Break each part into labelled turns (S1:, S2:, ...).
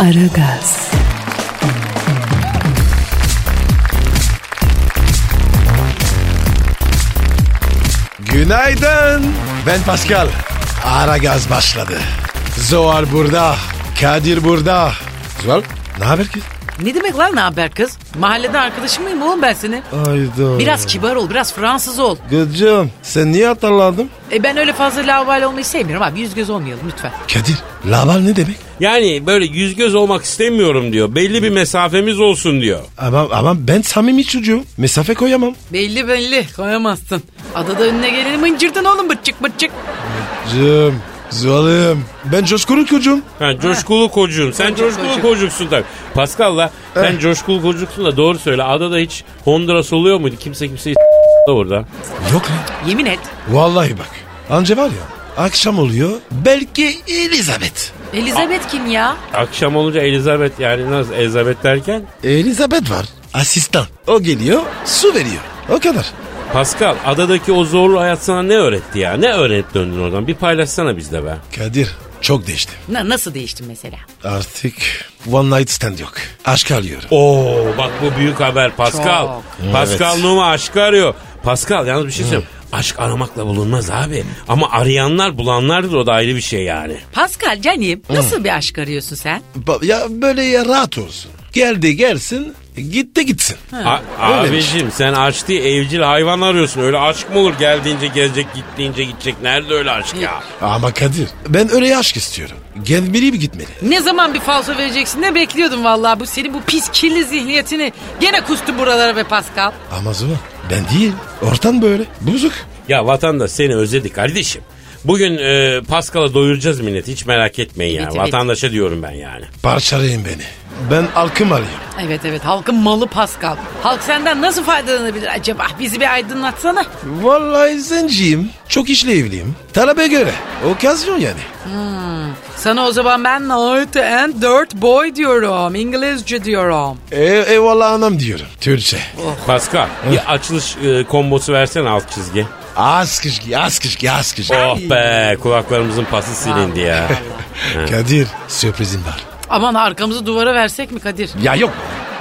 S1: Aragaz,
S2: Günaydın. Ben Pascal. Ara gaz başladı. Zoar burada. Kadir burada. Zoar ne haber ki?
S3: Ne demek lan ne haber kız? Mahallede arkadaşım mıyım oğlum ben senin?
S2: Ayda.
S3: Biraz kibar ol, biraz Fransız ol.
S2: Gıcım sen niye atarlandın?
S3: E ben öyle fazla laval olmayı sevmiyorum abi. Yüz göz olmayalım lütfen.
S2: Kadir laval ne demek?
S4: Yani böyle yüz göz olmak istemiyorum diyor. Belli bir mesafemiz olsun diyor.
S2: Ama, ama ben samimi çocuğum. Mesafe koyamam.
S3: Belli belli koyamazsın. Adada önüne geleni mıncırdın oğlum bıçık bıçık.
S2: Cım. Zuhal'ım. Ben coşkunun çocuğum.
S4: Ha, coşkulu kocuğum. Sen
S3: Kocuk,
S4: coşkulu
S3: kocuk.
S4: kocuksun tabii. Pascal'la sen coşkulu kocuksun da doğru söyle. Adada hiç Honduras oluyor muydu? Kimse kimseyi da orada.
S2: Yok lan.
S3: Yemin et.
S2: Vallahi bak. Anca var ya. Akşam oluyor. Belki Elizabeth.
S3: Elizabeth kim ya?
S4: Akşam olunca Elizabeth yani nasıl Elizabeth derken
S2: Elizabeth var. Asistan. O geliyor su veriyor. O kadar.
S4: Pascal adadaki o zorlu hayat sana ne öğretti ya? Ne öğrenip döndün oradan? Bir paylaşsana bizle be.
S2: Kadir çok değişti.
S3: Na, nasıl değiştin mesela?
S2: Artık one night stand yok. Aşk arıyorum.
S4: Oo bak bu büyük haber Pascal.
S3: Çok.
S4: Pascal
S2: Evet.
S4: Numa aşkı arıyor. Pascal yalnız bir şey söyleyeyim. Aşk aramakla bulunmaz abi. Ama arayanlar bulanlardır o da ayrı bir şey yani.
S3: Pascal canim nasıl bir aşk arıyorsun sen?
S2: Ba- Ya böyle ya rahat olsun. Geldi gelsin gitti gitsin.
S4: A-
S2: Öyleymiş.
S4: abicim sen aşk değil evcil hayvan arıyorsun. Öyle aşk mı olur? Geldiğince gelecek gittiğince gidecek. Nerede öyle aşk ya?
S2: Ama Kadir ben öyle aşk istiyorum. Gelmeli mi gitmeli?
S3: Ne zaman bir falso vereceksin ne bekliyordum vallahi bu senin bu pis kirli zihniyetini. Gene kustu buralara be Pascal.
S2: Ama Zuhal ben değil. Ortam böyle. Bozuk.
S4: Ya vatandaş seni özledik kardeşim. Bugün e, Pascal'a doyuracağız millet. Hiç merak etmeyin yani.
S3: Evet, evet.
S4: Vatandaşa diyorum ben yani.
S2: Parçalayın beni. Ben halkım arıyorum.
S3: Evet evet halkın malı Pascal. Halk senden nasıl faydalanabilir acaba? Bizi bir aydınlatsana.
S2: Vallahi zenciyim. Çok işle evliyim. Talebe göre. Okazyon yani.
S3: Sana o zaman ben night and dirt boy diyorum. İngilizce diyorum.
S2: E, eyvallah anam diyorum. Türkçe.
S4: Pascal bir açılış e, kombosu versene alt çizgi.
S2: Az kışkı, az kışkı, az kışkı.
S4: Oh be kulaklarımızın pası silindi ya.
S2: Kadir sürprizim var.
S3: Aman arkamızı duvara versek mi Kadir?
S2: Ya yok.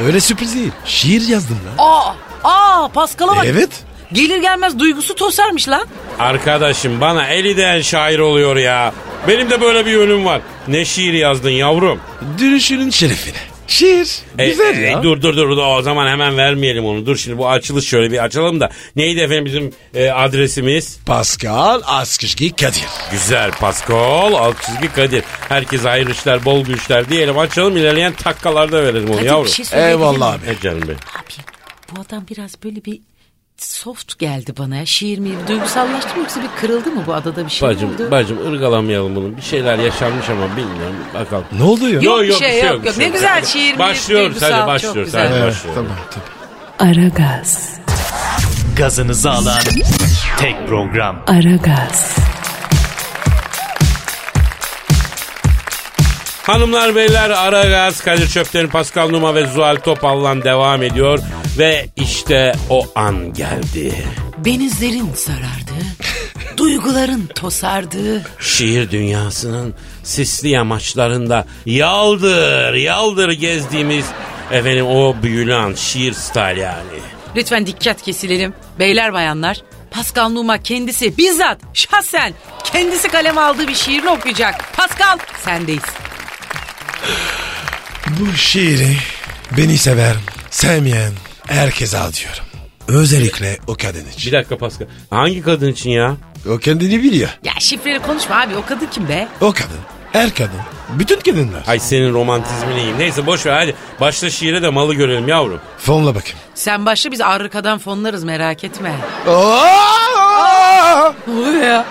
S2: Öyle sürpriz değil. Şiir yazdım lan.
S3: Aa! Aa Pascal'a bak.
S2: Evet.
S3: Gelir gelmez duygusu tosarmış lan.
S4: Arkadaşım bana eliden şair oluyor ya. Benim de böyle bir yönüm var. Ne şiir yazdın yavrum?
S2: Dönüşünün şerefine. Şiir.
S4: E,
S2: Güzel
S4: e,
S2: ya.
S4: dur dur dur o zaman hemen vermeyelim onu. Dur şimdi bu açılış şöyle bir açalım da. Neydi efendim bizim e, adresimiz?
S2: Pascal Askışki Kadir.
S4: Güzel Pascal alt çizgi Kadir. Herkese hayırlı işler bol güçler diyelim açalım ilerleyen takkalarda verelim onu
S3: Kadir
S4: yavrum.
S3: bir şey söyleyebilir
S2: Eyvallah
S3: miyim?
S2: abi.
S4: E canım benim.
S3: Abi bu adam biraz böyle bir soft geldi bana ya. Şiir mi? Duygusallaştı mı yoksa bir kırıldı mı bu adada bir şey mi oldu?
S4: Bacım, bacım ırgalamayalım bunu. Bir şeyler yaşanmış ama bilmiyorum. Bakalım.
S2: Ne oldu ya?
S3: Yok, bir şey, yok, yok.
S4: bir şey
S3: Ne güzel şiir, bir
S4: Başlıyoruz
S3: duygusal,
S4: hadi
S3: çok
S4: başlıyoruz.
S3: güzel.
S4: Hadi
S2: Evet,
S4: başlıyoruz.
S2: Ee, tamam tabii.
S1: Aragaz,
S5: gazınızı alan tek program.
S1: Aragaz,
S4: Hanımlar beyler Aragaz Kadir Çöpten Pascal Numa ve Zuhal Topal'la devam ediyor ve işte o an geldi.
S3: Benizlerin sarardı. duyguların tosardı.
S4: Şiir dünyasının sisli yamaçlarında yaldır yaldır gezdiğimiz efendim o büyülü an şiir style yani.
S3: Lütfen dikkat kesilelim. Beyler bayanlar Pascal Numa kendisi bizzat şahsen kendisi kaleme aldığı bir şiirini okuyacak. Pascal sendeyiz.
S2: Bu şiiri beni sever, sevmeyen herkese al diyorum. Özellikle o kadın
S4: Bir
S2: için.
S4: dakika Pascal. Hangi kadın için ya?
S2: O kendini biliyor.
S3: Ya şifreli konuşma abi o kadın kim be?
S2: O kadın. Her kadın. Bütün kadınlar.
S4: Ay senin romantizmini yiyeyim. Neyse boş ver hadi. Başla şiire de malı görelim yavrum.
S2: Fonla bakayım.
S3: Sen başla biz arkadan fonlarız merak etme.
S2: Aa!
S3: Ne oluyor ya?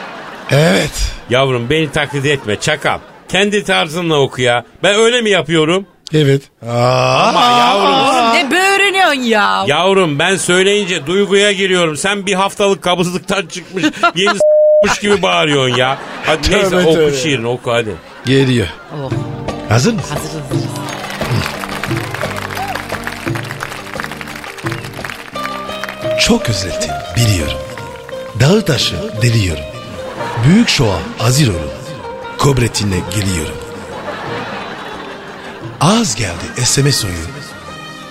S2: Evet.
S4: Yavrum beni taklit etme çakal. Kendi tarzınla oku ya. Ben öyle mi yapıyorum?
S2: Evet. Aa,
S4: Ama yavrum.
S3: Ne böğürünüyorsun ya?
S4: Yavrum ben söyleyince duyguya giriyorum. Sen bir haftalık kabızlıktan çıkmış yeni s**mış gibi bağırıyorsun ya. Hadi neyse
S2: Tövbe
S4: oku
S2: tövbe.
S4: şiirini oku hadi.
S2: geliyor.
S3: Oh,
S2: Hazır mısın?
S3: hazırız.
S2: Çok özetim biliyorum. Dağı taşı deliyorum. Büyük şoğa azir olun. Kobretinle geliyorum. Az geldi SMS oyu.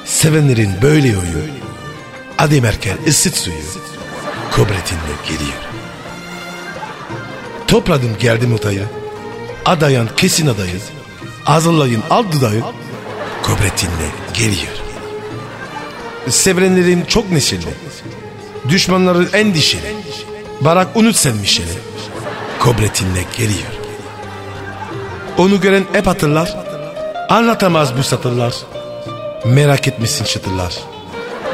S2: Sevenlerin böyle oyu. Adem Erken ısıt suyu. Kobretinle geliyorum. Topladım geldim otayı. Adayan kesin adayı. Hazırlayın al dudağı. Kobretinle geliyorum. Sevenlerim çok neşeli. Düşmanların en dişeli. Barak unut sen Mişel'i. Kobretinle geliyor. Onu gören hep hatırlar. Anlatamaz bu satırlar. Merak etmesin çıtırlar.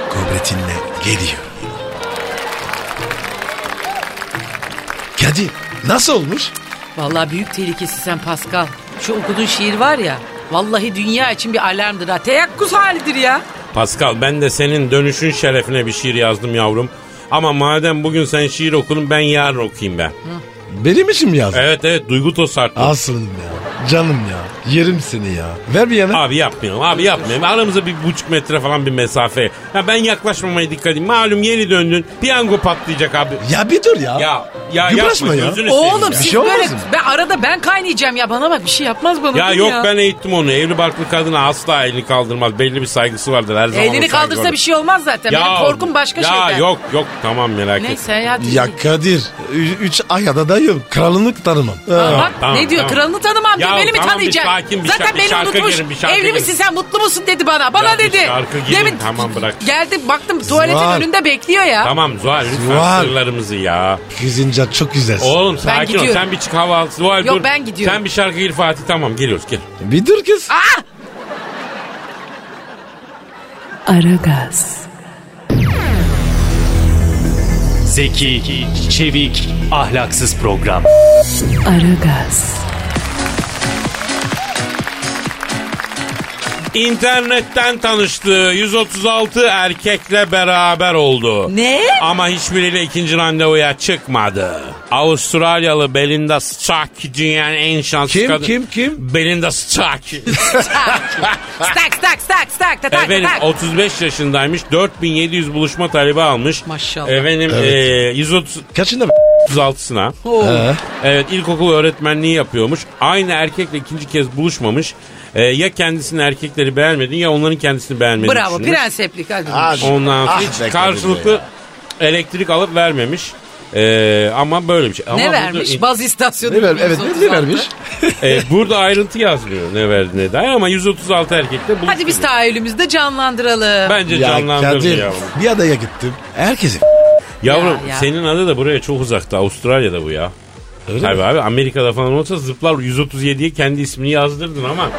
S2: Kobretinle geliyor. Kadir nasıl olmuş?
S3: Vallahi büyük tehlikesi sen Pascal. Şu okuduğun şiir var ya. Vallahi dünya için bir alarmdır ha. Teyakkuz halidir ya.
S4: Pascal ben de senin dönüşün şerefine bir şiir yazdım yavrum. Ama madem bugün sen şiir okudun ben yarın okuyayım ben.
S2: Benim için mi yazdın?
S4: Evet evet duygu tosarttı.
S2: Aslanım ya. Canım ya. Yerim seni ya. Ver bir yana.
S4: Abi yapmayalım abi yapmayalım. Aramıza bir buçuk metre falan bir mesafe. Ya ben yaklaşmamaya dikkat edeyim. Malum yeni döndün. Piyango patlayacak abi.
S2: Ya bir dur ya.
S4: Ya ya
S2: Yıpraşma
S4: yapma
S2: ya.
S4: gözünü seveyim
S3: Oğlum
S4: ya.
S3: siz
S2: şey olmaz
S3: böyle
S2: mı?
S3: ben arada ben kaynayacağım ya bana bak bir şey yapmaz bana.
S4: Ya
S3: değil
S4: yok ben eğittim onu. Evli barklı kadına asla elini kaldırmaz. Belli bir saygısı vardır her zaman.
S3: Elini
S4: o saygı
S3: kaldırsa
S4: vardır.
S3: bir şey olmaz zaten. Benim korkum başka
S4: ya
S3: şeyden.
S4: yok yok tamam merak etme.
S3: Neyse ya.
S2: Ya Kadir, ü- üç ayada da yok. Kralınlık tanımam.
S3: Aa,
S4: Tamam,
S3: bak
S4: tamam,
S3: ne diyor
S4: tamam.
S3: kralını tanımam diyor
S4: Ya
S3: beni mi
S4: tamam, bir
S3: tanıyacak?
S4: sakin, bir
S3: Zaten
S4: şarkı- bir
S3: beni
S4: şarkı
S3: unutmuş.
S4: girin, bir şarkı
S3: Evli
S4: girin.
S3: misin sen mutlu musun dedi bana. Bana
S4: Ya bir
S3: dedi.
S4: şarkı girin, tamam, bırak.
S3: Geldim baktım tuvaletin
S2: Var.
S3: önünde bekliyor ya.
S4: Tamam Zuhal lütfen
S2: Zuhal.
S4: sırlarımızı ya.
S2: Kızınca çok güzelsin.
S4: Oğlum sakin ol
S3: gidiyorum.
S4: sen bir çık hava al. Zuhal
S3: Yok,
S4: dur.
S3: ben gidiyorum.
S4: Sen bir şarkı gir Fatih tamam geliyoruz gel.
S2: Bir dur kız.
S3: Aa!
S1: Aragaz,
S5: Zeki, çevik, ahlaksız program.
S1: Aragaz,
S4: İnternetten tanıştı. 136 erkekle beraber oldu.
S3: Ne?
S4: Ama hiçbiriyle ikinci randevuya çıkmadı. Avustralyalı Belinda Stark dünyanın en şanslı
S2: Kim,
S4: kadın.
S2: kim, kim?
S4: Belinda Stark.
S3: Stak stak stak stak tak tak
S4: Efendim
S3: tak.
S4: 35 yaşındaymış. 4700 buluşma talebi almış.
S3: Maşallah.
S4: Efendim
S2: Evet.
S4: eee, 130
S2: Kaçında
S4: 36'sına.
S3: Oo.
S2: He.
S4: Evet ilkokul öğretmenliği yapıyormuş. Aynı erkekle ikinci kez buluşmamış. Eee, ya kendisini erkekleri beğenmedi ya onların kendisini beğenmediğini
S3: Bravo
S4: düşünmüş.
S3: prens replik.
S2: Hadi.
S4: Ondan sonra
S2: Ah be
S4: hiç
S2: kadın
S4: karşılıklı elektrik alıp vermemiş. Eee, ama böyle bir şey. Ama
S3: Ne
S4: burada-
S3: vermiş? Baz istasyonu.
S2: Ne ver, evet ne
S3: 136.
S2: vermiş?
S4: Eee, burada ayrıntı yazmıyor ne verdi ne dair ama 136 erkekle buluşmuş.
S3: Hadi biz tahayyülümüzde canlandıralım.
S4: Bence canlandırdı yavrum.
S2: bir adaya gittim. Herkesi.
S4: Yavrum
S3: Ya, ya.
S4: senin adı da buraya çok uzakta. Avustralya'da bu ya.
S2: Öyle
S4: Tabii
S2: mi?
S4: abi Amerika'da falan olsa zıplar 137'ye kendi ismini yazdırdın ama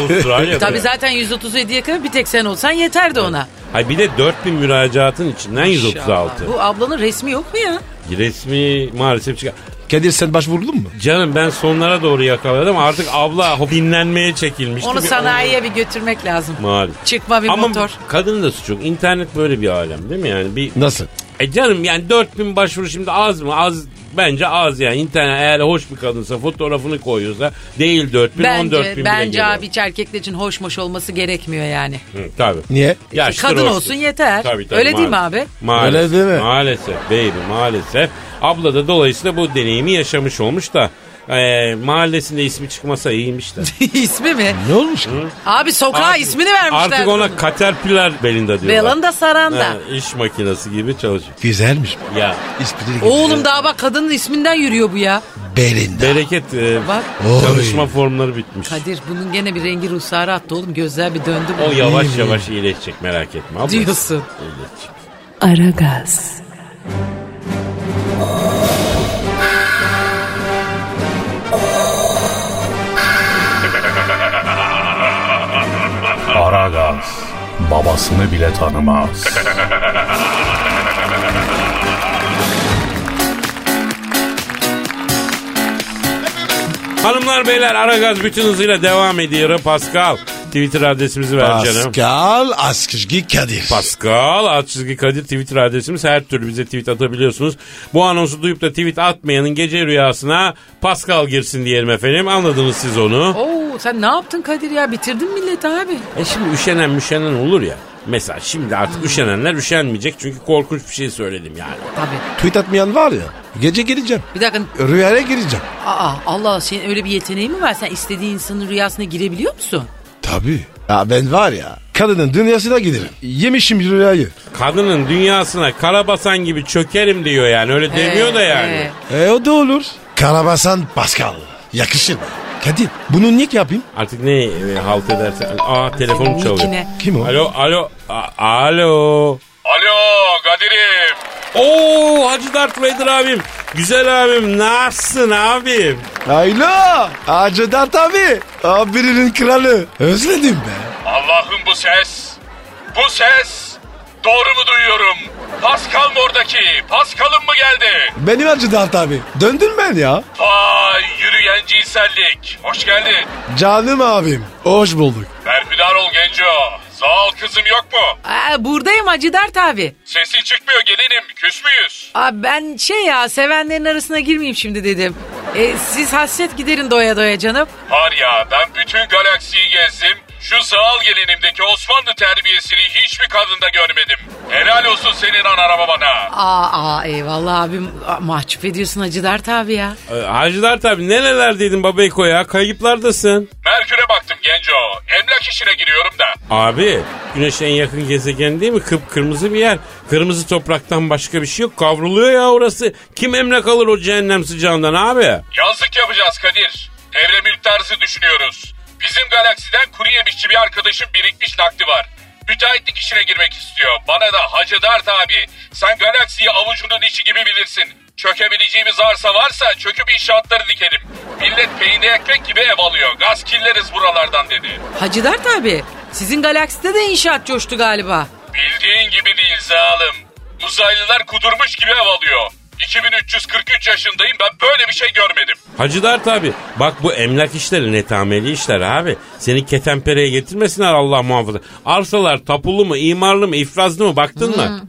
S4: Avustralya'da.
S3: Tabii zaten 137'ye kadar bir tek sen olsan yeterdi ona.
S4: Hay bir de 4000 müracaatın içinden 136.
S3: Bu ablanın resmi yok mu ya?
S4: Resmi maalesef çıkar.
S2: Kadir sen başvurdun mu?
S4: Canım ben sonlara doğru yakaladım artık abla hop dinlenmeye çekilmişti.
S3: Onu
S4: Bir-
S3: sanayiye bir götürmek lazım.
S4: Maalesef.
S3: Çıkma bir
S4: Ama
S3: motor.
S4: kadının da suçu yok. İnternet böyle bir alem değil mi yani? Bir
S2: Nasıl?
S4: E canım yani 4000 başvuru şimdi az mı? Az bence az yani. İnternet eğer hoş bir kadınsa fotoğrafını koyuyorsa değil 4000
S3: Bence
S4: 14 bin bile
S3: bence
S4: geliyor.
S3: abi hiç erkekler için hoşmoş olması gerekmiyor yani.
S4: Hı, tabii.
S2: Niye?
S4: Yaştır
S3: Kadın olsun yeter.
S4: Tabii, tabii,
S3: Öyle değil mi
S4: maalesef.
S3: abi?
S4: Maalesef.
S2: Öyle değil mi?
S4: Maalesef baby maalesef. Abla da dolayısıyla bu deneyimi yaşamış olmuş da e, mahallesinde ismi çıkmasa iyiymiş de.
S3: İsmi mi?
S2: Ne olmuş ki?
S3: Abi sokağa
S4: Artık-
S3: ismini vermişler.
S4: Artık ona Caterpillar belinde diyorlar.
S3: Belanda saranda.
S4: Ha, iş makinesi gibi çalışıyor.
S2: Güzelmiş.
S4: Ya
S2: İsmini
S3: Oğlum daha bak kadının isminden yürüyor bu ya.
S2: Belinde.
S4: bereket e,
S3: Bak.
S2: Oy.
S4: çalışma formları bitmiş.
S3: Kadir bunun gene bir rengi ruhsarı attı oğlum. Gözler bir döndü.
S4: O
S3: bu.
S4: yavaş yavaş iyileşecek merak etme. Abla.
S3: Diyorsun.
S4: İyileşecek.
S1: Aragaz,
S6: Aragaz babasını bile tanımaz.
S4: Hanımlar beyler Aragaz bütün hızıyla devam ediyor. Pascal Twitter adresimizi ver canım.
S2: Pascal Askışgi Kadir.
S4: Pascal alt çizgi Kadir Twitter adresimiz her türlü bize tweet atabiliyorsunuz. Bu anonsu duyup da tweet atmayanın gece rüyasına Pascal girsin diyelim efendim. Anladınız siz onu.
S3: Oo sen ne yaptın Kadir ya bitirdin millet abi.
S4: E şimdi üşenen müşenen olur ya. Mesela şimdi artık üşenenler üşenmeyecek çünkü korkunç bir şey söyledim yani.
S3: Tabii.
S2: Tweet atmayan var ya. Gece gireceğim.
S3: Bir dakika
S2: Rüyaya gireceğim.
S3: aa Allah senin öyle bir yeteneğin mi var? Sen istediğin insanın rüyasına girebiliyor musun?
S2: Tabii. Ya ben var ya. Kadının dünyasına giderim. Yemişim rüyayı.
S4: Kadının dünyasına karabasan gibi çökerim diyor yani öyle demiyor da yani.
S3: Ee,
S2: E o da olur. Karabasan Pascal. Yakışır mı? Kadir bunu niye yapayım?
S4: Artık ne e, halt ederse. Aa telefonum çalıyor.
S3: Nikine.
S2: Kim o?
S4: Alo alo. A- alo.
S7: Alo Kadir'im.
S4: Oo Hacı Dert Vader abim. Güzel abim nasılsın abim?
S2: Alo. Hacı Dert abi. Abinin kralı. Özledim be.
S7: Allah'ım bu ses. Bu ses. Doğru mu duyuyorum? Pascal mı oradaki? Pascal'ın mı geldi?
S2: Benim Hacı Dert abi. Döndün ben ya.
S7: Vay yürüyen cinsellik. Hoş geldin.
S2: Canım abim. Hoş bulduk.
S7: Berhudar ol Genco. Zal kızım yok mu?
S3: Aa, buradayım Hacı Dert abi.
S7: Sesin çıkmıyor gelinim. Küs müyüz?
S3: Aa, ben şey ya sevenlerin arasına girmeyeyim şimdi dedim. E, siz hasret giderin doya doya canım.
S7: Var ya ben bütün galaksiyi gezdim. Şu Zal gelinimdeki Osmanlı terbiyesini hiçbir kadında görmedim. Helal olsun senin anarama bana.
S3: Aa, aa eyvallah abim Aa, mahcup ediyorsun Hacı Dert abi ya.
S4: Ee, Hacı Dert abi nereler dedin Babeko ya? Kayıplardasın.
S7: Merkür'e baktım Genco. Emlak işine giriyorum da.
S4: Abi güneş en yakın gezegen değil mi? Kıpkırmızı bir yer. Kırmızı topraktan başka bir şey yok. Kavruluyor ya orası. Kim emlak alır o cehennem sıcağından abi?
S7: Yazlık yapacağız Kadir. Evre mülk tarzı düşünüyoruz. Bizim galaksiden kuru yemişçi bir arkadaşım birikmiş nakdi var. Müteahhitlik işine girmek istiyor. Bana da Hacı Dert abi sen galaksiyi avucunun içi gibi bilirsin. Çökebileceğimiz arsa varsa çöküp inşaatları dikelim. Millet peynir ekmek gibi ev alıyor. Gaz kirleriz buralardan dedi.
S3: Hacı Dert abi sizin galakside de inşaat coştu galiba.
S7: Bildiğin gibi değil zalim. Uzaylılar kudurmuş gibi ev alıyor. 2343 yaşındayım ben böyle bir şey görmedim.
S4: Hacı Dert abi bak bu emlak işleri netameli işler abi. Seni ketenpereye getirmesinler Allah muhafaza. Arsalar tapulu mu, imarlı mı, ifrazlı mı baktın mı?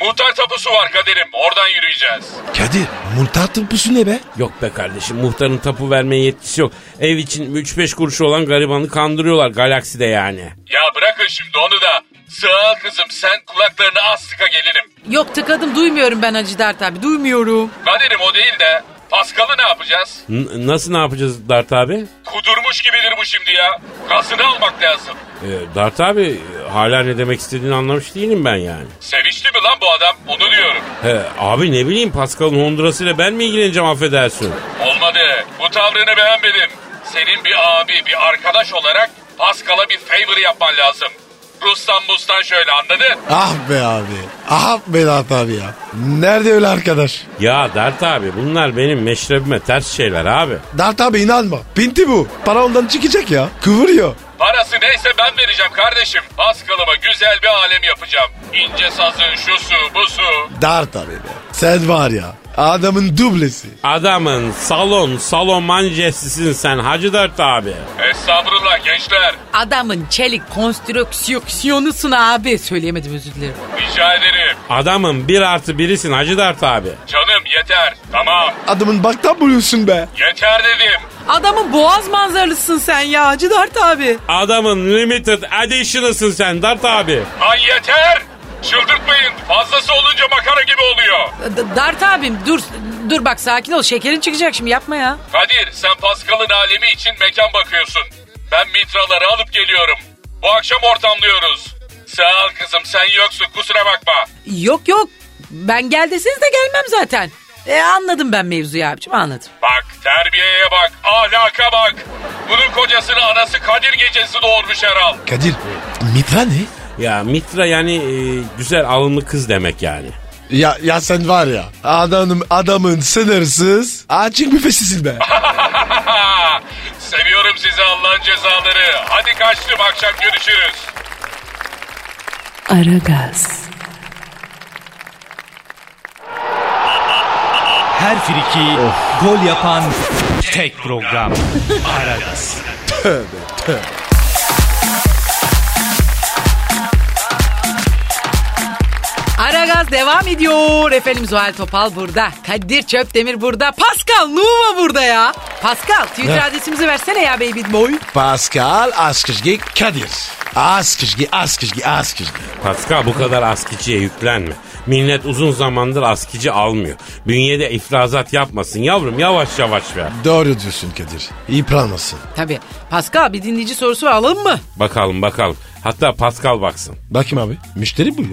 S7: Muhtar tapusu var Kadir'im oradan yürüyeceğiz.
S2: Kadir multatın pusu ne be?
S4: Yok be kardeşim muhtarın tapu vermeye yetkisi yok. Ev için 3-5 kuruş olan garibanı kandırıyorlar galakside yani.
S7: Ya bırakın şimdi onu da. Sağ ol kızım sen kulaklarını az sıka gelinim.
S3: Yok tıkadım duymuyorum ben Hacı Dert abi duymuyorum.
S7: Kadir'im o değil de Paskal'ı ne yapacağız?
S4: N- nasıl ne yapacağız Dert abi?
S7: Kudurmuş gibidir bu şimdi ya. Gazını almak lazım.
S4: Ee, Dert abi e, hala ne demek istediğini anlamış değilim ben yani.
S7: Sevinçli mi lan bu adam? Onu diyorum.
S4: He, abi ne bileyim Pascal'ın Honduras ile ben mi ilgileneceğim affedersin?
S7: Olmadı. Bu tavrını beğenmedim. Senin bir abi, bir arkadaş olarak Paskal'a bir favor yapman lazım. Rus'tan Mus'tan şöyle anladın?
S2: Ah be abi. Ah be Dert abi ya. Nerede öyle arkadaş?
S4: Ya Dert abi bunlar benim meşrebime ters şeyler abi.
S2: Dert abi inanma. Pinti bu. Para ondan çıkacak ya. Kıvırıyor.
S7: Parası neyse ben vereceğim kardeşim. Paskal'ıma güzel bir alem yapacağım. İnce sazı, şusu, busu.
S2: Dert abi be. Sen var ya. Adamın dublesi.
S4: Adamın salon salon mancesisin sen Hacı Dert abi.
S7: Estağfurullah gençler.
S3: Adamın çelik konstrüksiyonusun abi söyleyemedim özür dilerim.
S7: Rica ederim.
S4: Adamın bir artı birisin Hacı Dert abi.
S7: Canım yeter. Tamam.
S2: Adamın baktan buluyorsun be.
S7: Yeter dedim.
S3: Adamın boğaz manzaralısın sen ya Hacı Dert abi.
S4: Adamın limited edition'ısın sen Dert abi.
S7: Ay yeter. Çıldırtmayın. Fazlası olunca makara gibi oluyor.
S3: D- Dert abim dur dur bak sakin ol şekerin çıkacak şimdi yapma ya.
S7: Kadir sen Pascal'ın alemi için mekan bakıyorsun. Ben mitraları alıp geliyorum. Bu akşam ortamlıyoruz. Sağ ol kızım sen yoksun kusura bakma.
S3: Yok yok ben gel deseniz de gelmem zaten. E anladım ben mevzuyu abicim anladım.
S7: Bak terbiyeye bak ahlaka bak. Bunun kocasını anası Kadir gecesi doğurmuş herhal.
S2: Kadir. Mitra ne?
S4: Ya Mitra yani e, güzel alımlı kız demek yani.
S2: Ya, ya sen var ya. Adamın, adamın sınırsız açık büfesisin be.
S7: Seviyorum sizi Allah'ın cezaları. Hadi kaçtım akşam görüşürüz.
S1: Aragaz,
S5: Her friki gol yapan tek program. Aragaz.
S3: Aragaz devam ediyor. Efendim Zuhal Topal burada. Kadir Çöptemir burada. Pascal Numa burada ya. Pascal Twitter
S2: Ne?
S3: adresimizi versene ya baby boy.
S2: Pascal Askışgi Kadir. Askışgi Askışgi Askışgi.
S4: Pascal bu kadar askiciye yüklenme. Millet uzun zamandır askici almıyor. Bünyede ifrazat yapmasın yavrum yavaş yavaş ver.
S2: Doğru diyorsun Kadir. İpranmasın.
S3: Tabii. Pascal bir dinleyici sorusu var, alalım mı?
S4: Bakalım bakalım. Hatta Pascal baksın.
S2: Bakayım abi. Müşteri bu ya.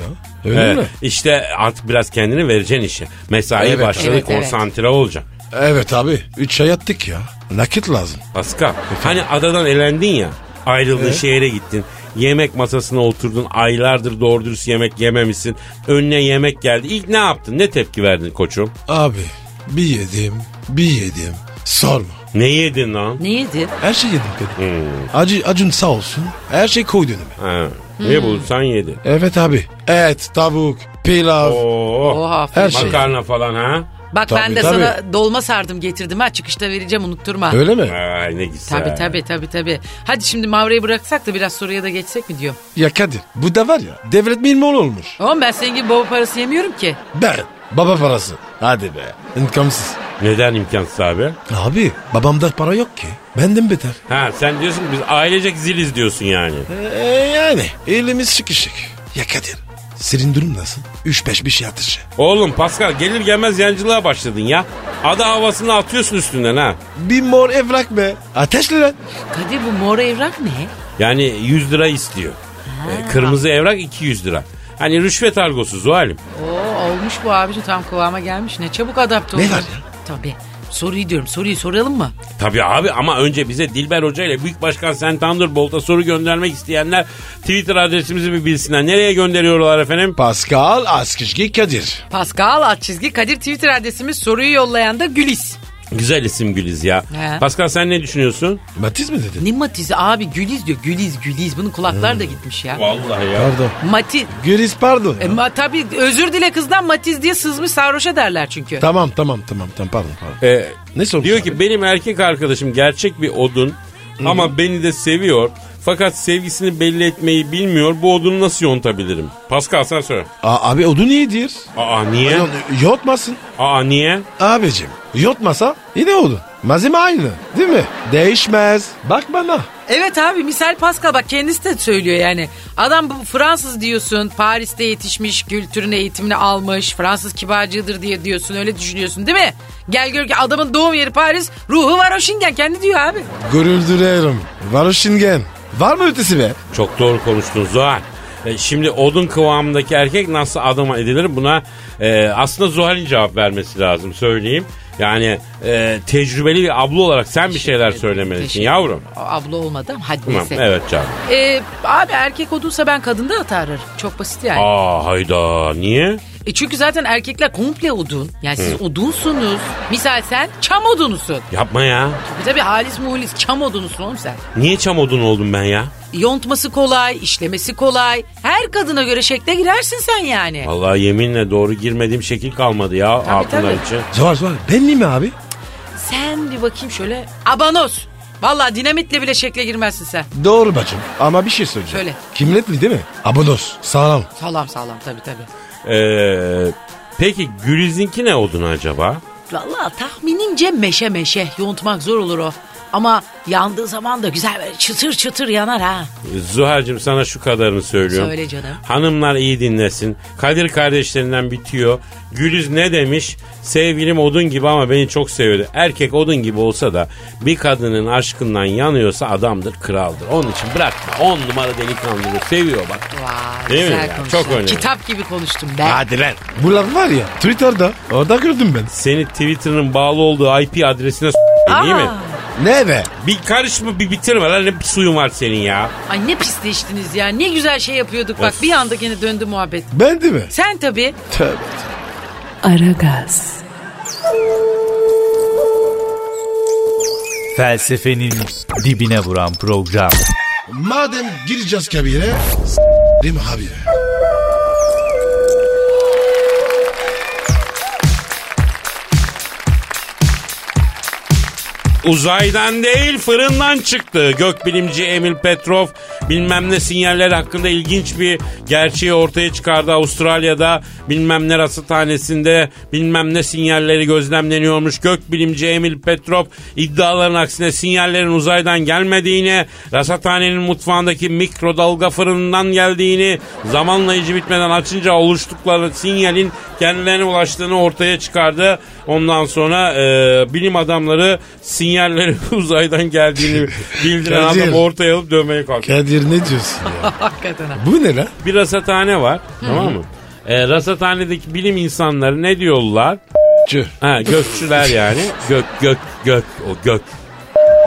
S2: Öyle
S4: Evet,
S2: mi?
S4: İşte artık biraz kendini vereceksin işe. Mesai
S2: Evet,
S4: başladı
S3: evet, evet.
S4: konsantre olacaksın.
S2: Evet abi. Üç ay yattık ya. Nakit lazım.
S4: Pascal hani adadan elendin ya ayrıldın şehre gittin. Yemek masasına oturdun aylardır doğru dürüst yemek yememişsin. Önüne yemek geldi. İlk ne yaptın? Ne tepki verdin koçum?
S2: Abi bir yedim bir yedim. Sorma.
S4: Ne yedin lan?
S3: Ne yedi?
S2: Her şey yedim Kadir.
S4: Hmm.
S2: Acı, acın sağ olsun. Her şey koy önüme.
S4: Ha,
S3: Hmm.
S4: Ne bulsan yedi.
S2: Evet abi. Et, tavuk, pilav.
S4: Oo.
S3: Oha.
S2: Her şey.
S4: Oh, Makarna falan ha?
S3: Bak ben
S2: Tabii,
S3: de
S2: tabii.
S3: sana dolma sardım getirdim ha çıkışta vereceğim unutturma.
S2: Öyle mi?
S4: Ay ne güzel.
S3: Tabii tabii tabii tabii. Hadi şimdi Mavra'yı bıraksak da biraz soruya da geçsek mi diyor.
S2: Ya Kadir bu da var ya devlet mol olmuş.
S3: Oğlum ben senin gibi baba parası yemiyorum ki.
S2: Ben baba parası. Hadi be. İntikamsız.
S4: Neden imkansız abi?
S2: Abi babamda para yok ki. Benden beter.
S4: Ha sen diyorsun ki biz ailecek ziliz diyorsun yani.
S2: Ee, yani elimiz sıkışık. Ya Kadir senin durum nasıl? 3-5 bir şey atışı.
S4: Oğlum Pascal gelir gelmez yancılığa başladın ya. Ada havasını atıyorsun üstünden ha.
S2: Bir mor evrak be. Ateşli lan.
S3: Kadir bu mor evrak ne?
S4: Yani 100 lira istiyor. Ee, kırmızı evrak 200 lira. Hani rüşvet argosu Zuhal'im.
S3: Oo olmuş bu abici tam kıvama gelmiş. Ne çabuk adapte
S2: Ne
S3: oldu.
S2: var ya?
S3: Tabii. Soruyu diyorum soruyu soralım mı?
S4: Tabii abi ama önce bize Dilber Hoca ile Büyük Başkan Sen Thunderbolt'a soru göndermek isteyenler Twitter adresimizi bir bilsinler. Nereye gönderiyorlar efendim?
S2: Pascal Askışki Kadir.
S3: Pascal alt çizgi Kadir Twitter adresimiz soruyu yollayan da Güliz.
S4: Güzel isim Güliz ya.
S3: He.
S4: Pascal sen ne düşünüyorsun?
S2: Matiz mi dedin?
S3: Ne matizi abi Güliz diyor. Güliz Güliz. Bunun kulaklar da
S2: Hmm.
S3: gitmiş ya.
S4: Vallahi ya.
S2: Pardon.
S3: Matiz.
S2: Güris pardon.
S3: E, ma, tabii özür dile kızdan Matiz diye sızmış sarhoşa derler çünkü.
S2: Tamam tamam tamam tamam pardon pardon. ne sormuş?
S4: E, Diyor ki benim erkek arkadaşım gerçek bir odun ama beni de seviyor. Fakat sevgisini belli etmeyi bilmiyor. Bu odunu nasıl yontabilirim? Pascal sen söyle.
S2: Aa, abi odun iyidir.
S4: Aa niye?
S2: Ayol, Yotmasın.
S4: Aa niye?
S2: Abicim yotmasa yine odun. Malzeme aynı değil mi? Değişmez. Bak bana.
S3: Evet abi misal Pascal bak kendisi de söylüyor yani. Adam bu Fransız diyorsun Paris'te yetişmiş kültürünü eğitimini almış Fransız kibarcıdır diye diyorsun öyle düşünüyorsun değil mi? Gel gör ki adamın doğum yeri Paris ruhu var o şingen kendi diyor abi.
S2: Gurur duyarım. Var o şingen. Var mı ötesi be?
S4: Çok doğru konuştun Zuhal. E, şimdi odun kıvamındaki erkek nasıl adama edilir buna e, aslında Zuhal'in cevap vermesi lazım söyleyeyim. Yani e, tecrübeli bir abla olarak sen bir şeyler söylemelisin
S3: Teşekkür
S4: yavrum.
S3: ederim. Abla olmadı ama hadi
S4: Tamam,
S3: neyse.
S4: evet canım.
S3: Ee, abi erkek odunsa ben kadında atarır. Çok basit yani.
S4: Aa hayda niye?
S3: E çünkü zaten erkekler komple odun. Yani siz odunsunuz. Misal sen çam odunusun.
S4: Yapma ya.
S3: Tabii tabii halis muhlis çam odunusun oğlum sen.
S4: Niye çam odun oldum ben ya?
S3: Yontması kolay, işlemesi kolay. Her kadına göre şekle girersin sen yani.
S4: Vallahi yeminle doğru girmediğim şekil kalmadı ya
S3: Tabii,
S4: hatunlar
S3: tabii.
S4: için.
S2: Zor zor. Belli mi abi?
S3: Sen bir bakayım şöyle. Abanos. Vallahi dinamitle bile şekle girmezsin sen.
S2: Doğru bacım. Ama bir şey söyleyeceğim.
S3: Söyle.
S2: Kimletli değil mi? Abonos. Sağlam.
S3: Sağlam sağlam tabii tabii.
S4: Ee, peki Güliz'inki ne odun acaba?
S3: Vallahi tahminimce meşe meşe. Yontmak zor olur o. Ama yandığı zaman da güzel böyle çıtır çıtır yanar ha.
S4: Zuhal'cim sana şu kadarını söylüyorum.
S3: Söyle canım.
S4: Hanımlar iyi dinlesin. Kadir kardeşlerinden bitiyor. Gülüz ne demiş? Sevgilim odun gibi ama beni çok seviyordu. Erkek odun gibi olsa da bir kadının aşkından yanıyorsa adamdır, kraldır. Onun için bırakma. On numara delikanlıdır. Seviyor bak.
S3: Vay
S4: Değil mi
S3: güzel
S4: ya?
S3: konuştun.
S4: Çok önemli.
S3: Kitap gibi konuştum ben.
S2: lan. Bu laf var ya Twitter'da. Orada gördüm ben.
S4: Seni Twitter'ın bağlı olduğu IP adresine s- değil mi?
S3: Aa,
S2: Ne be?
S4: Bir karışma bir bitirme lan ne bir suyun var senin ya.
S3: Ay ne pisleştiniz ya. Ne güzel şey yapıyorduk bak.
S4: Of.
S3: Bir anda gene döndü muhabbet.
S2: Ben değil mi?
S3: Sen tabii.
S2: Tövbe.
S1: Aragaz,
S5: Felsefenin dibine vuran program.
S2: Madem gireceğiz kabire. Rim abi.
S4: Uzaydan değil fırından çıktı. Gökbilimci Emil Petrov bilmem ne sinyaller hakkında ilginç bir gerçeği ortaya çıkardı. Avustralya'da bilmem ne rasathanesinde bilmem ne sinyalleri gözlemleniyormuş. Gökbilimci Emil Petrov iddiaların aksine sinyallerin uzaydan gelmediğini, rasathanenin mutfağındaki mikrodalga fırından geldiğini, zamanla işi bitmeden açınca oluştukları sinyalin kendilerine ulaştığını ortaya çıkardı. Ondan sonra e, bilim adamları sinyallerin uzaydan geldiğini bildiren
S2: Kadir.
S4: adamı ortaya alıp dövmeye kalktı.
S2: Kadir ne diyorsun ya?
S3: Hakikaten ha.
S2: Bu ne lan?
S4: Bir rasathane var tamam mı? E, rasathanedeki bilim insanları ne diyorlar?
S2: Çö.
S4: Ha gökçüler yani. Gök gök gök o gök.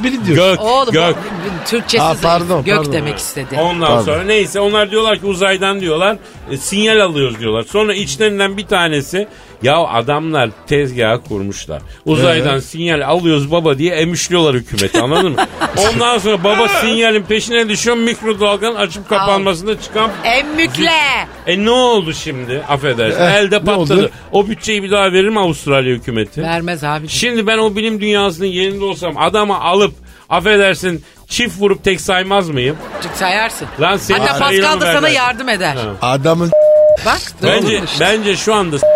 S2: Biri diyor.
S4: Gök
S3: Oğlum
S4: gök.
S3: bu- bu Türkçesi
S2: Aa,
S3: zayıf.
S2: pardon,
S3: gök
S2: pardon.
S3: demek istedi.
S4: Ondan
S2: Tabii.
S4: sonra neyse onlar diyorlar ki uzaydan diyorlar e, sinyal alıyoruz diyorlar. Sonra içlerinden bir tanesi ya adamlar tezgah kurmuşlar. Uzaydan sinyal alıyoruz baba diye emişliyorlar hükümeti anladın mı? Ondan sonra baba sinyalin peşine düşüyor mikrodalganın açıp kapanmasında çıkan
S3: Emmükle.
S4: e ne oldu şimdi? Affedersin.
S2: Eh,
S4: Elde
S2: ne
S4: patladı.
S2: oldu?
S4: O bütçeyi bir daha verir mi Avustralya hükümeti?
S3: Vermez abi.
S4: Şimdi ben o bilim dünyasının yerinde olsam adamı alıp affedersin çift vurup tek saymaz mıyım?
S3: Çık sayarsın.
S4: Lan senin
S3: Hatta
S4: sayını
S3: Pascal da sana
S4: vermez.
S3: yardım eder.
S4: Ha.
S2: Adamın
S3: Bak
S4: Bence
S3: doğru işte.
S4: bence şu anda s-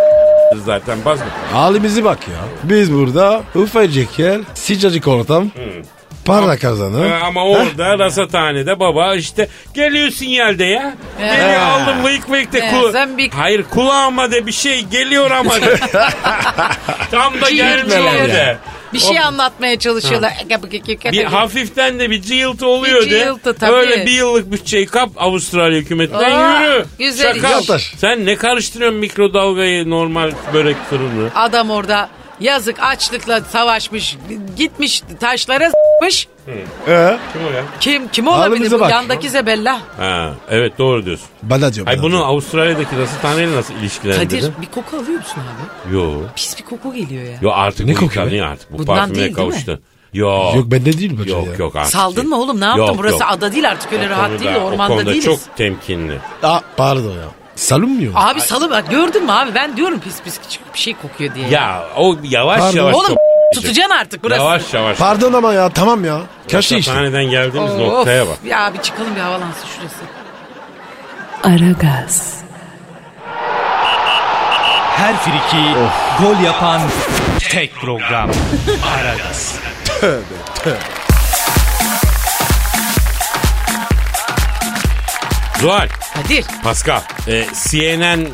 S4: zaten basma.
S2: halimizi bak ya. Biz burada ufacık yer, sıcacık ortam. Para kazanır.
S4: Ha, Hmm. Ee, ama orada rasathanede baba işte geliyor sinyalde ya. Geliyor aldım vıyık vıyık de
S3: Ee,
S4: kul-
S3: sen bir-
S4: Hayır kulağıma de bir şey geliyor ama de. Tam da gelmiyor
S3: Cihirtmeler
S4: de.
S3: Bir şey anlatmaya çalışıyorlar. Bir
S4: Bir hafiften de bir cıyıltı oluyor
S3: Bir
S4: de.
S3: cıyıltı tabii.
S4: Öyle bir yıllık bütçeyi kap Avustralya hükümetinden
S3: Aa,
S4: yürü.
S3: güzel
S4: Şaka.
S2: iş. Yatır.
S4: Sen ne karıştırıyorsun mikrodalgayı normal börek fırını?
S3: Adam orada yazık açlıkla savaşmış. Gitmiş taşlara s**mış.
S2: Ee,
S4: Kim o ya?
S3: Kim kim olabilir
S2: Halimize
S3: bu?
S2: bak.
S3: Yandaki zebella.
S4: Ha, evet doğru diyorsun.
S2: bana diyor.
S4: Ay
S2: bana
S4: bunu
S2: diyor.
S4: Avustralya'daki rasathaneyle nasıl ilişkilendirdin?
S3: Kadir bir koku alıyor musun abi?
S4: Yo.
S3: Pis bir koku geliyor ya.
S4: Yo artık
S2: Ne
S4: bu
S2: kokuyor
S4: yıkanıyor
S2: be?
S4: artık. Bu
S3: Bundan
S4: parfümeye
S3: değil, değil mi?
S4: kavuştu. Yo.
S2: Yok bende değil bu
S4: Yok
S2: şey ya.
S4: yok artık.
S3: Saldın mı oğlum ne yaptın?
S4: Yok,
S3: Burası
S4: yok.
S3: ada değil artık öyle rahat değil
S4: Konuda- o
S3: ormanda
S4: konuda
S3: değiliz.
S4: çok temkinli.
S2: Aa, pardon ya. Salınmıyor. mu?
S3: Abi salı bak gördün mü abi ben diyorum pis pis bir şey kokuyor diye.
S4: Ya o yavaş
S2: Pardon.
S4: yavaş.
S3: oğlum
S4: top-
S3: tutacaksın artık burası.
S4: şey. Yavaş yavaş.
S2: Pardon ama ya tamam ya. Kaşı işte.
S4: Rasathaneden geldiğimiz
S3: Of,
S4: noktaya bak.
S3: Ya bir çıkalım bir havalansın şurası.
S1: Aragaz,
S5: Her friki gol yapan tek program. Aragaz.
S4: Zuhal.
S3: Kadir.
S4: Pascal, e, CNN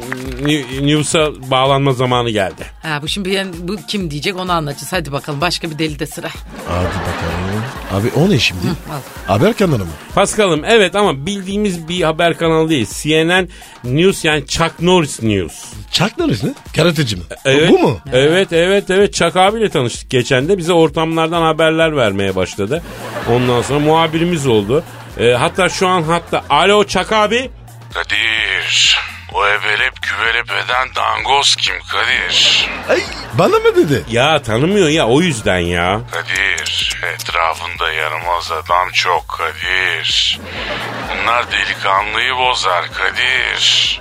S4: New- News'a bağlanma zamanı geldi.
S3: Ha, bu şimdi yani bu kim diyecek onu anlatacağız. Hadi bakalım başka bir deli de sıra.
S2: Hadi bakalım. Abi o ne şimdi?
S3: al.
S2: Haber kanalı mı?
S4: Pascal'ım evet ama bildiğimiz bir haber kanalı değil. CNN News yani Chuck Norris News.
S2: Chuck Norris ne? Karateci mi?
S4: Evet,
S2: Bu mu?
S4: E, Evet evet evet Chuck abiyle tanıştık geçen de bize ortamlardan haberler vermeye başladı. Ondan sonra muhabirimiz oldu. E, hatta şu an hatta alo Chuck abi.
S7: Kadir. O evelep güvelep eden dangoz kim Kadir?
S2: Ay, bana mı dedi?
S4: Ya tanımıyor ya o yüzden ya.
S7: Kadir. Etrafında yaramaz adam çok Kadir. Bunlar delikanlıyı bozar Kadir.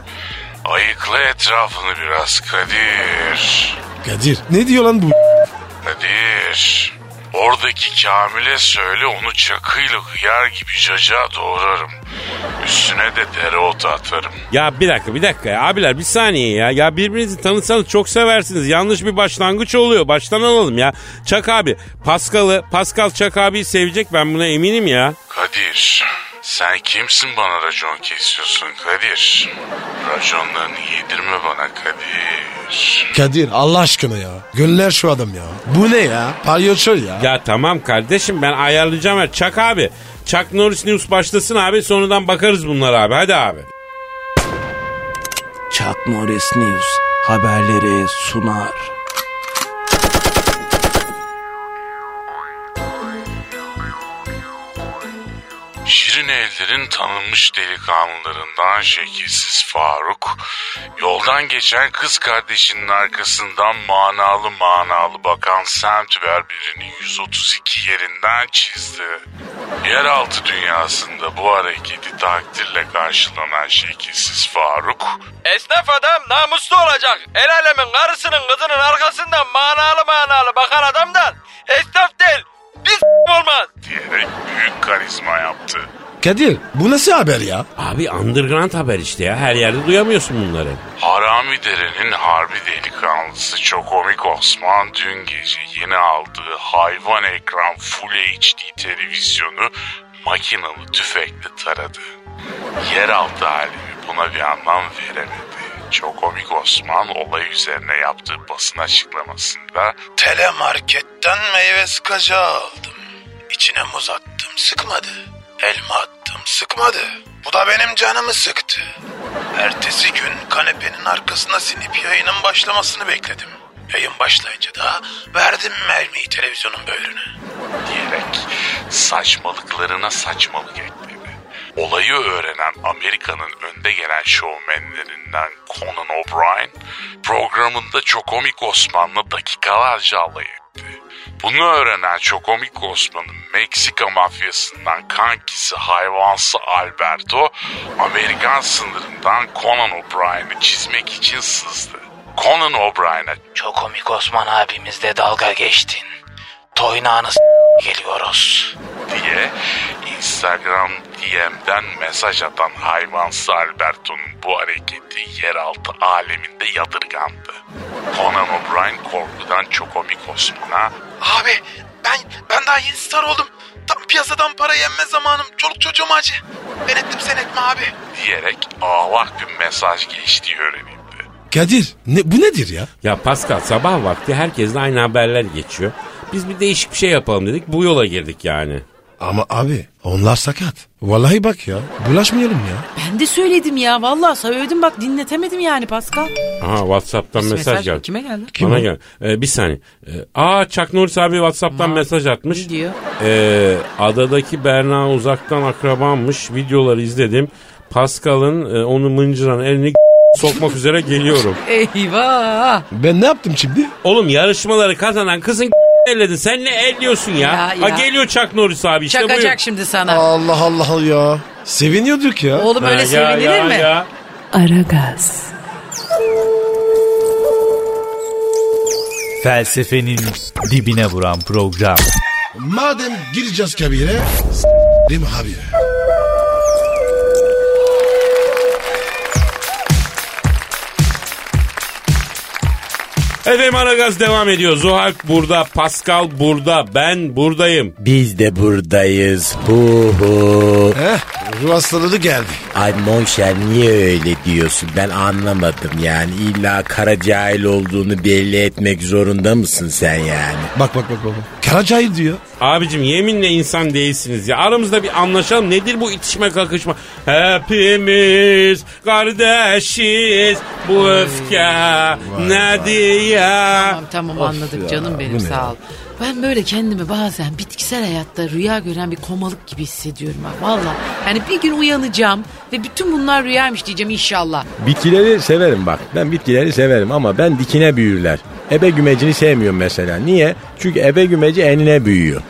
S7: Ayıkla etrafını biraz Kadir.
S2: Kadir. Ne diyor lan bu?
S7: Kadir. Oradaki Kamil'e söyle onu çakıyla hıyar gibi caca doğrarım. Üstüne de dereotu atarım.
S4: Ya bir dakika bir dakika ya. abiler bir saniye ya. Ya birbirinizi tanısanız çok seversiniz. Yanlış bir başlangıç oluyor. Baştan alalım ya. Çak abi Paskal'ı Pascal Çak abiyi sevecek ben buna eminim ya.
S7: Kadir, sen kimsin bana racon kesiyorsun Kadir? Raconlarını yedirme bana Kadir.
S2: Kadir Allah aşkına ya. Göller şu adam ya. Bu ne ya? Palyaço ya.
S4: Ya tamam kardeşim ben ayarlayacağım ya. Çak abi. Çak Norris News başlasın abi sonradan bakarız bunlara abi. Hadi abi.
S8: Chuck Norris News haberleri sunar.
S7: Şirin ellerin tanınmış delikanlılarından şekilsiz Faruk, yoldan geçen kız kardeşinin arkasından manalı manalı bakan semtüver birinin 132 yerinden çizdi. Yeraltı dünyasında bu hareketi takdirle karşılanan şekilsiz Faruk,
S8: Esnaf adam namuslu olacak. El alemin karısının kızının arkasından manalı manalı bakan adamdan esnaf değil
S6: Olmaz.
S7: diyerek büyük karizma yaptı.
S2: Kadir bu nasıl haber ya?
S4: Abi underground haber işte ya. Her yerde duyamıyorsun bunları.
S7: Harami Dere'nin harbi delikanlısı çok komik Osman dün gece yeni aldığı hayvan ekran Full HD televizyonu makinalı tüfekle taradı. Yeraltı alemi buna bir anlam veremedi. Çok komik Osman olay üzerine yaptığı basın açıklamasında
S9: Telemarketten meyve sıkacağı aldım. İçine muz attım sıkmadı. Elma attım sıkmadı. Bu da benim canımı sıktı. Ertesi gün kanepenin arkasına sinip yayının başlamasını bekledim. Yayın başlayınca da verdim mermiyi televizyonun böğrüne.
S7: diyerek saçmalıklarına saçmalık ekledi. Olayı öğrenen Amerika'nın önde gelen şovmenlerinden Conan O'Brien programında Çokomik Osman'la dakikalarca alay etti. Bunu öğrenen Çokomik Osman'ın Meksika mafyasından kankisi hayvansı Alberto Amerikan sınırından Conan O'Brien'i çizmek için sızdı. Conan O'Brien'e
S9: Çok komik Osman abimizle dalga geçtin. Toynağını geliyoruz.
S7: diye Instagram DM'den mesaj atan hayvansı Alberto'nun bu hareketi yeraltı aleminde yadırgandı. Conan O'Brien korkudan çok komik Osman'a
S9: Abi ben ben daha yeni star oldum. Tam piyasadan para yenme zamanım. Çoluk çocuğum acı. Ben ettim sen etme abi.
S7: diyerek ağlak bir mesaj geçtiği öğrenildi.
S2: Kadir ne, bu nedir ya?
S4: Ya Pascal sabah vakti herkesle aynı haberler geçiyor. Biz bir değişik bir şey yapalım dedik. Bu yola girdik yani.
S2: Ama abi onlar sakat. Vallahi bak ya bulaşmayalım ya.
S3: Ben de söyledim ya vallahi söyledim bak dinletemedim yani Pascal.
S4: Aha Whatsapp'tan
S3: Mesaj,
S4: mesaj, geldi.
S3: Kime geldi?
S4: Bana gel. Ee, bir saniye. Ee, aa Chuck Norris abi Whatsapp'tan mesaj atmış.
S3: Ne diyor?
S4: Ee, adadaki Berna uzaktan akrabanmış. Videoları izledim. Pascal'ın e, onu mıncıran elini sokmak üzere geliyorum.
S3: Eyvah.
S2: Ben ne yaptım şimdi?
S4: Oğlum yarışmaları kazanan kızın elledin. Sen ne elliyorsun ya?
S3: Ya, ya.
S4: Ha geliyor Chuck Norris abi işte şey buyur.
S3: Çakacak şimdi sana.
S2: Allah Allah ya. Seviniyorduk ya.
S3: Oğlum
S4: Ha,
S3: öyle
S4: ya,
S3: sevinilir
S4: ya,
S3: mi?
S4: ya.
S1: Aragaz,
S5: Felsefenin dibine vuran program.
S2: Madem gireceğiz kabire. Değil mi abi?
S4: Efendim Aragaz devam ediyor. Zuhal burada, Pascal burada, ben buradayım.
S8: Biz de buradayız. Hu hu.
S2: Heh Eh, ruh hastalığı geldi.
S8: Ay Monşer niye öyle diyorsun ben anlamadım yani. İlla kara cahil olduğunu belli etmek zorunda mısın sen yani?
S2: Bak bak bak bak. bak. Karacahil diyor.
S4: Abicim yeminle insan değilsiniz ya. Aramızda bir anlaşalım. Nedir bu itişme kakışma? Hepimiz kardeşiz. Bu öfke ne diye.
S3: Tamam tamam anladık canım benim sağ ol. Ben böyle kendimi bazen bitkisel hayatta rüya gören bir komalık gibi hissediyorum ha. Valla yani bir gün uyanacağım ve bütün bunlar rüyaymış diyeceğim inşallah.
S10: Bitkileri severim bak. Ben bitkileri severim ama ben dikine büyürler. Ebe gümecini sevmiyorum mesela. Niye? Çünkü ebe gümeci enine büyüyor.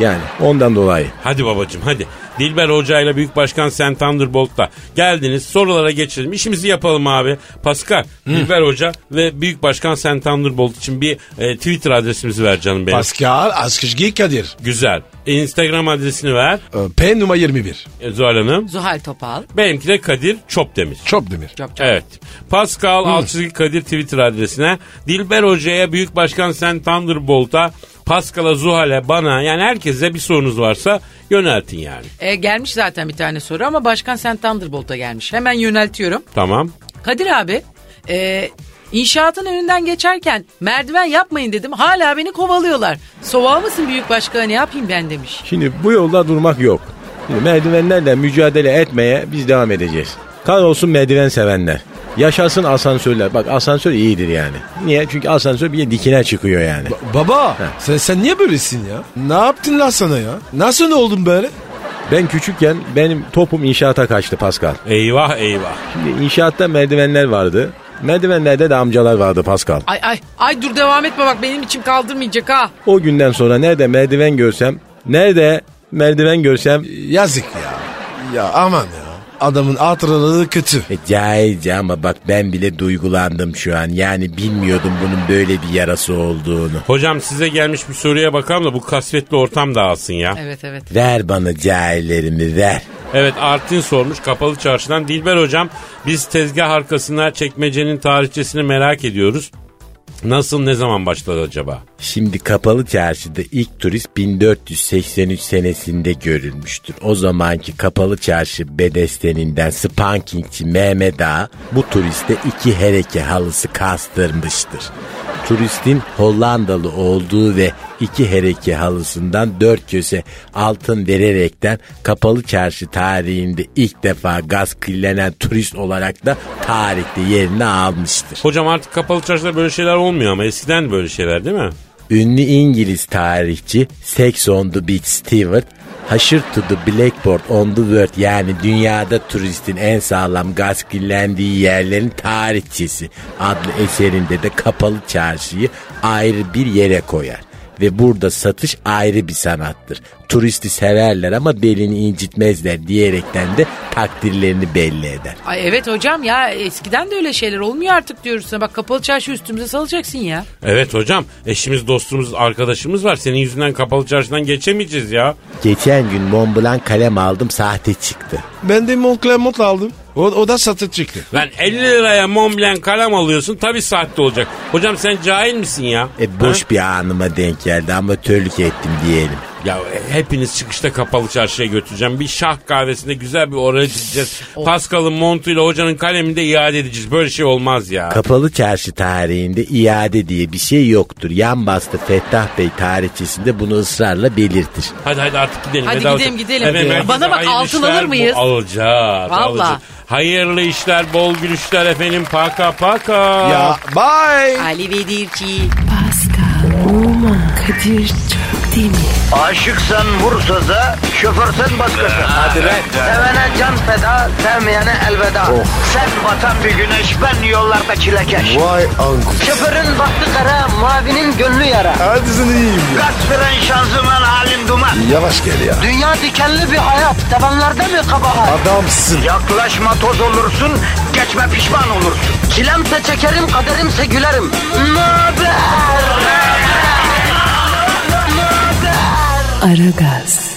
S10: Yani ondan dolayı.
S4: Hadi babacım hadi. Dilber Hoca ile Büyük Başkan Sen Thunderbolt'ta geldiniz. Sorulara geçelim. İşimizi yapalım abi. Pascal, Dilber Hoca ve Büyük Başkan Sen Thunderbolt için bir e, Twitter adresimizi ver canım benim.
S2: Pascal Askışgi Kadir.
S4: Güzel. E, Instagram adresini ver.
S2: Ee, P numara 21.
S4: E, Zuhal Hanım.
S3: Zuhal Topal.
S4: Benimki de Kadir Çopdemir.
S2: Çok demir.
S3: Çok çok.
S4: Evet. Pascal Alçızı Kadir Twitter adresine. Dilber Hoca'ya, Büyük Başkan Sen Thunderbolt'a, Pascal'a, Zuhal'e, bana yani herkese bir sorunuz varsa yöneltin yani.
S3: E, gelmiş zaten bir tane soru ama Başkan Sen Thunderbolt'a gelmiş. Hemen yöneltiyorum.
S4: Tamam.
S3: Kadir abi e, inşaatın önünden geçerken merdiven yapmayın dedim. Hala beni kovalıyorlar. Soğuğa mısın büyük başkan ne yapayım ben demiş.
S10: Şimdi bu yolda durmak yok. Şimdi merdivenlerle mücadele etmeye biz devam edeceğiz. Kar olsun merdiven sevenler. Yaşasın asansörler. Bak asansör iyidir yani. Niye? Çünkü asansör bir de dikine çıkıyor yani.
S2: Baba sen, sen niye böylesin ya? Ne yaptın lan sana ya? Nasıl oldun böyle?
S10: Ben küçükken benim topum inşaata kaçtı Pascal.
S4: Eyvah eyvah.
S10: Şimdi inşaatta merdivenler vardı. Merdivenlerde de amcalar vardı Pascal.
S3: Ay ay ay dur devam etme bak benim içim kaldırmayacak ha.
S10: O günden sonra nerede merdiven görsem, nerede merdiven görsem
S2: Yazık ya. Ya aman ya. Adamın hatıraları kötü.
S8: E, cahilce ama bak ben bile duygulandım şu an. Yani bilmiyordum bunun böyle bir yarası olduğunu.
S4: Hocam size gelmiş bir soruya bakalım da bu kasvetli ortam dağılsın ya.
S3: Evet evet.
S8: Ver bana cahillerimi ver.
S4: Evet Artin sormuş kapalı çarşıdan. Dilber hocam biz tezgah arkasına çekmecenin tarihçesini merak ediyoruz. Nasıl ne zaman başladı acaba?
S8: Şimdi kapalı çarşıda ilk turist 1483 senesinde görülmüştür. O zamanki kapalı çarşı bedesteninden spankingçi Mehmet Ağa bu turiste iki hereke halısı kastırmıştır. Turistin Hollandalı olduğu ve iki hereke halısından dört köse altın vererekten kapalı çarşı tarihinde ilk defa gaskillenen turist olarak da tarihte yerini almıştır.
S4: Hocam artık kapalı çarşıda böyle şeyler olmuyor ama eskiden böyle şeyler değil mi?
S8: Ünlü İngiliz tarihçi Sex on the Beach Stewart, Haşır to the Blackboard on the World yani dünyada turistin en sağlam gaskillendiği yerlerin tarihçesi adlı eserinde de kapalı çarşıyı ayrı bir yere koyar. Ve burada satış ayrı bir sanattır. Turisti severler ama belini incitmezler diyerekten de takdirlerini belli eder.
S3: Ay evet hocam ya eskiden de öyle şeyler olmuyor artık diyoruz sana. Bak kapalı çarşı üstümüze salacaksın ya.
S4: Evet hocam eşimiz dostumuz arkadaşımız var. Senin yüzünden kapalı çarşıdan geçemeyeceğiz ya.
S8: Geçen gün Montblanc kalem aldım sahte çıktı.
S2: Ben de Montclair mont aldım. O, o da satı çıktı.
S4: Lan 50 liraya Montblanc kalem alıyorsun tabii sahte olacak. Hocam sen cahil misin ya?
S8: E boş
S4: Ha?
S8: bir anıma denk geldi amatörlük ettim diyelim.
S4: Ya e, hepiniz çıkışta kapalı çarşıya götüreceğim. Bir şah kahvesinde güzel bir oraya gideceğiz. Pascal'ın montuyla hocanın kalemini de iade edeceğiz. Böyle şey olmaz ya.
S8: Kapalı çarşı tarihinde iade diye bir şey yoktur. Yan bastı Fettah Bey tarihçesinde bunu ısrarla belirtir.
S4: Hadi hadi artık gidelim.
S3: Hadi
S4: Vedat
S3: gidelim,
S4: Hoca.
S3: gidelim.
S4: Hemen
S3: Hadi.
S4: herkese
S3: Bana bak,
S4: hayırlı
S3: altın
S4: işler,
S3: alır mıyız?
S4: bu- Alacağız.
S3: Vallahi.
S4: alacağız. Hayırlı işler, bol gülüşler efendim. Paka paka.
S2: Ya bye.
S3: Ali Vedirci.
S1: Pascal, Oman, Kadir çok değil mi?
S11: Aşıksan vursa da, şoförsen başkasın. Hadi
S8: lan.
S11: Sevene can feda, sevmeyene elveda. Sen batan bir güneş, ben yollarda çilekeş.
S2: Vay anku.
S11: Şoförün baktı kara, mavinin gönlü yara.
S2: Hadi sen iyiyim ya.
S11: Kasperen şanzıman halin duman.
S2: Yavaş gel ya.
S11: Dünya dikenli bir hayat, sevenlerde mi kabahar?
S2: Adamsın.
S11: Yaklaşma toz olursun, geçme pişman olursun. Çilemse çekerim, kaderimse gülerim. Möber!
S1: Aragaz.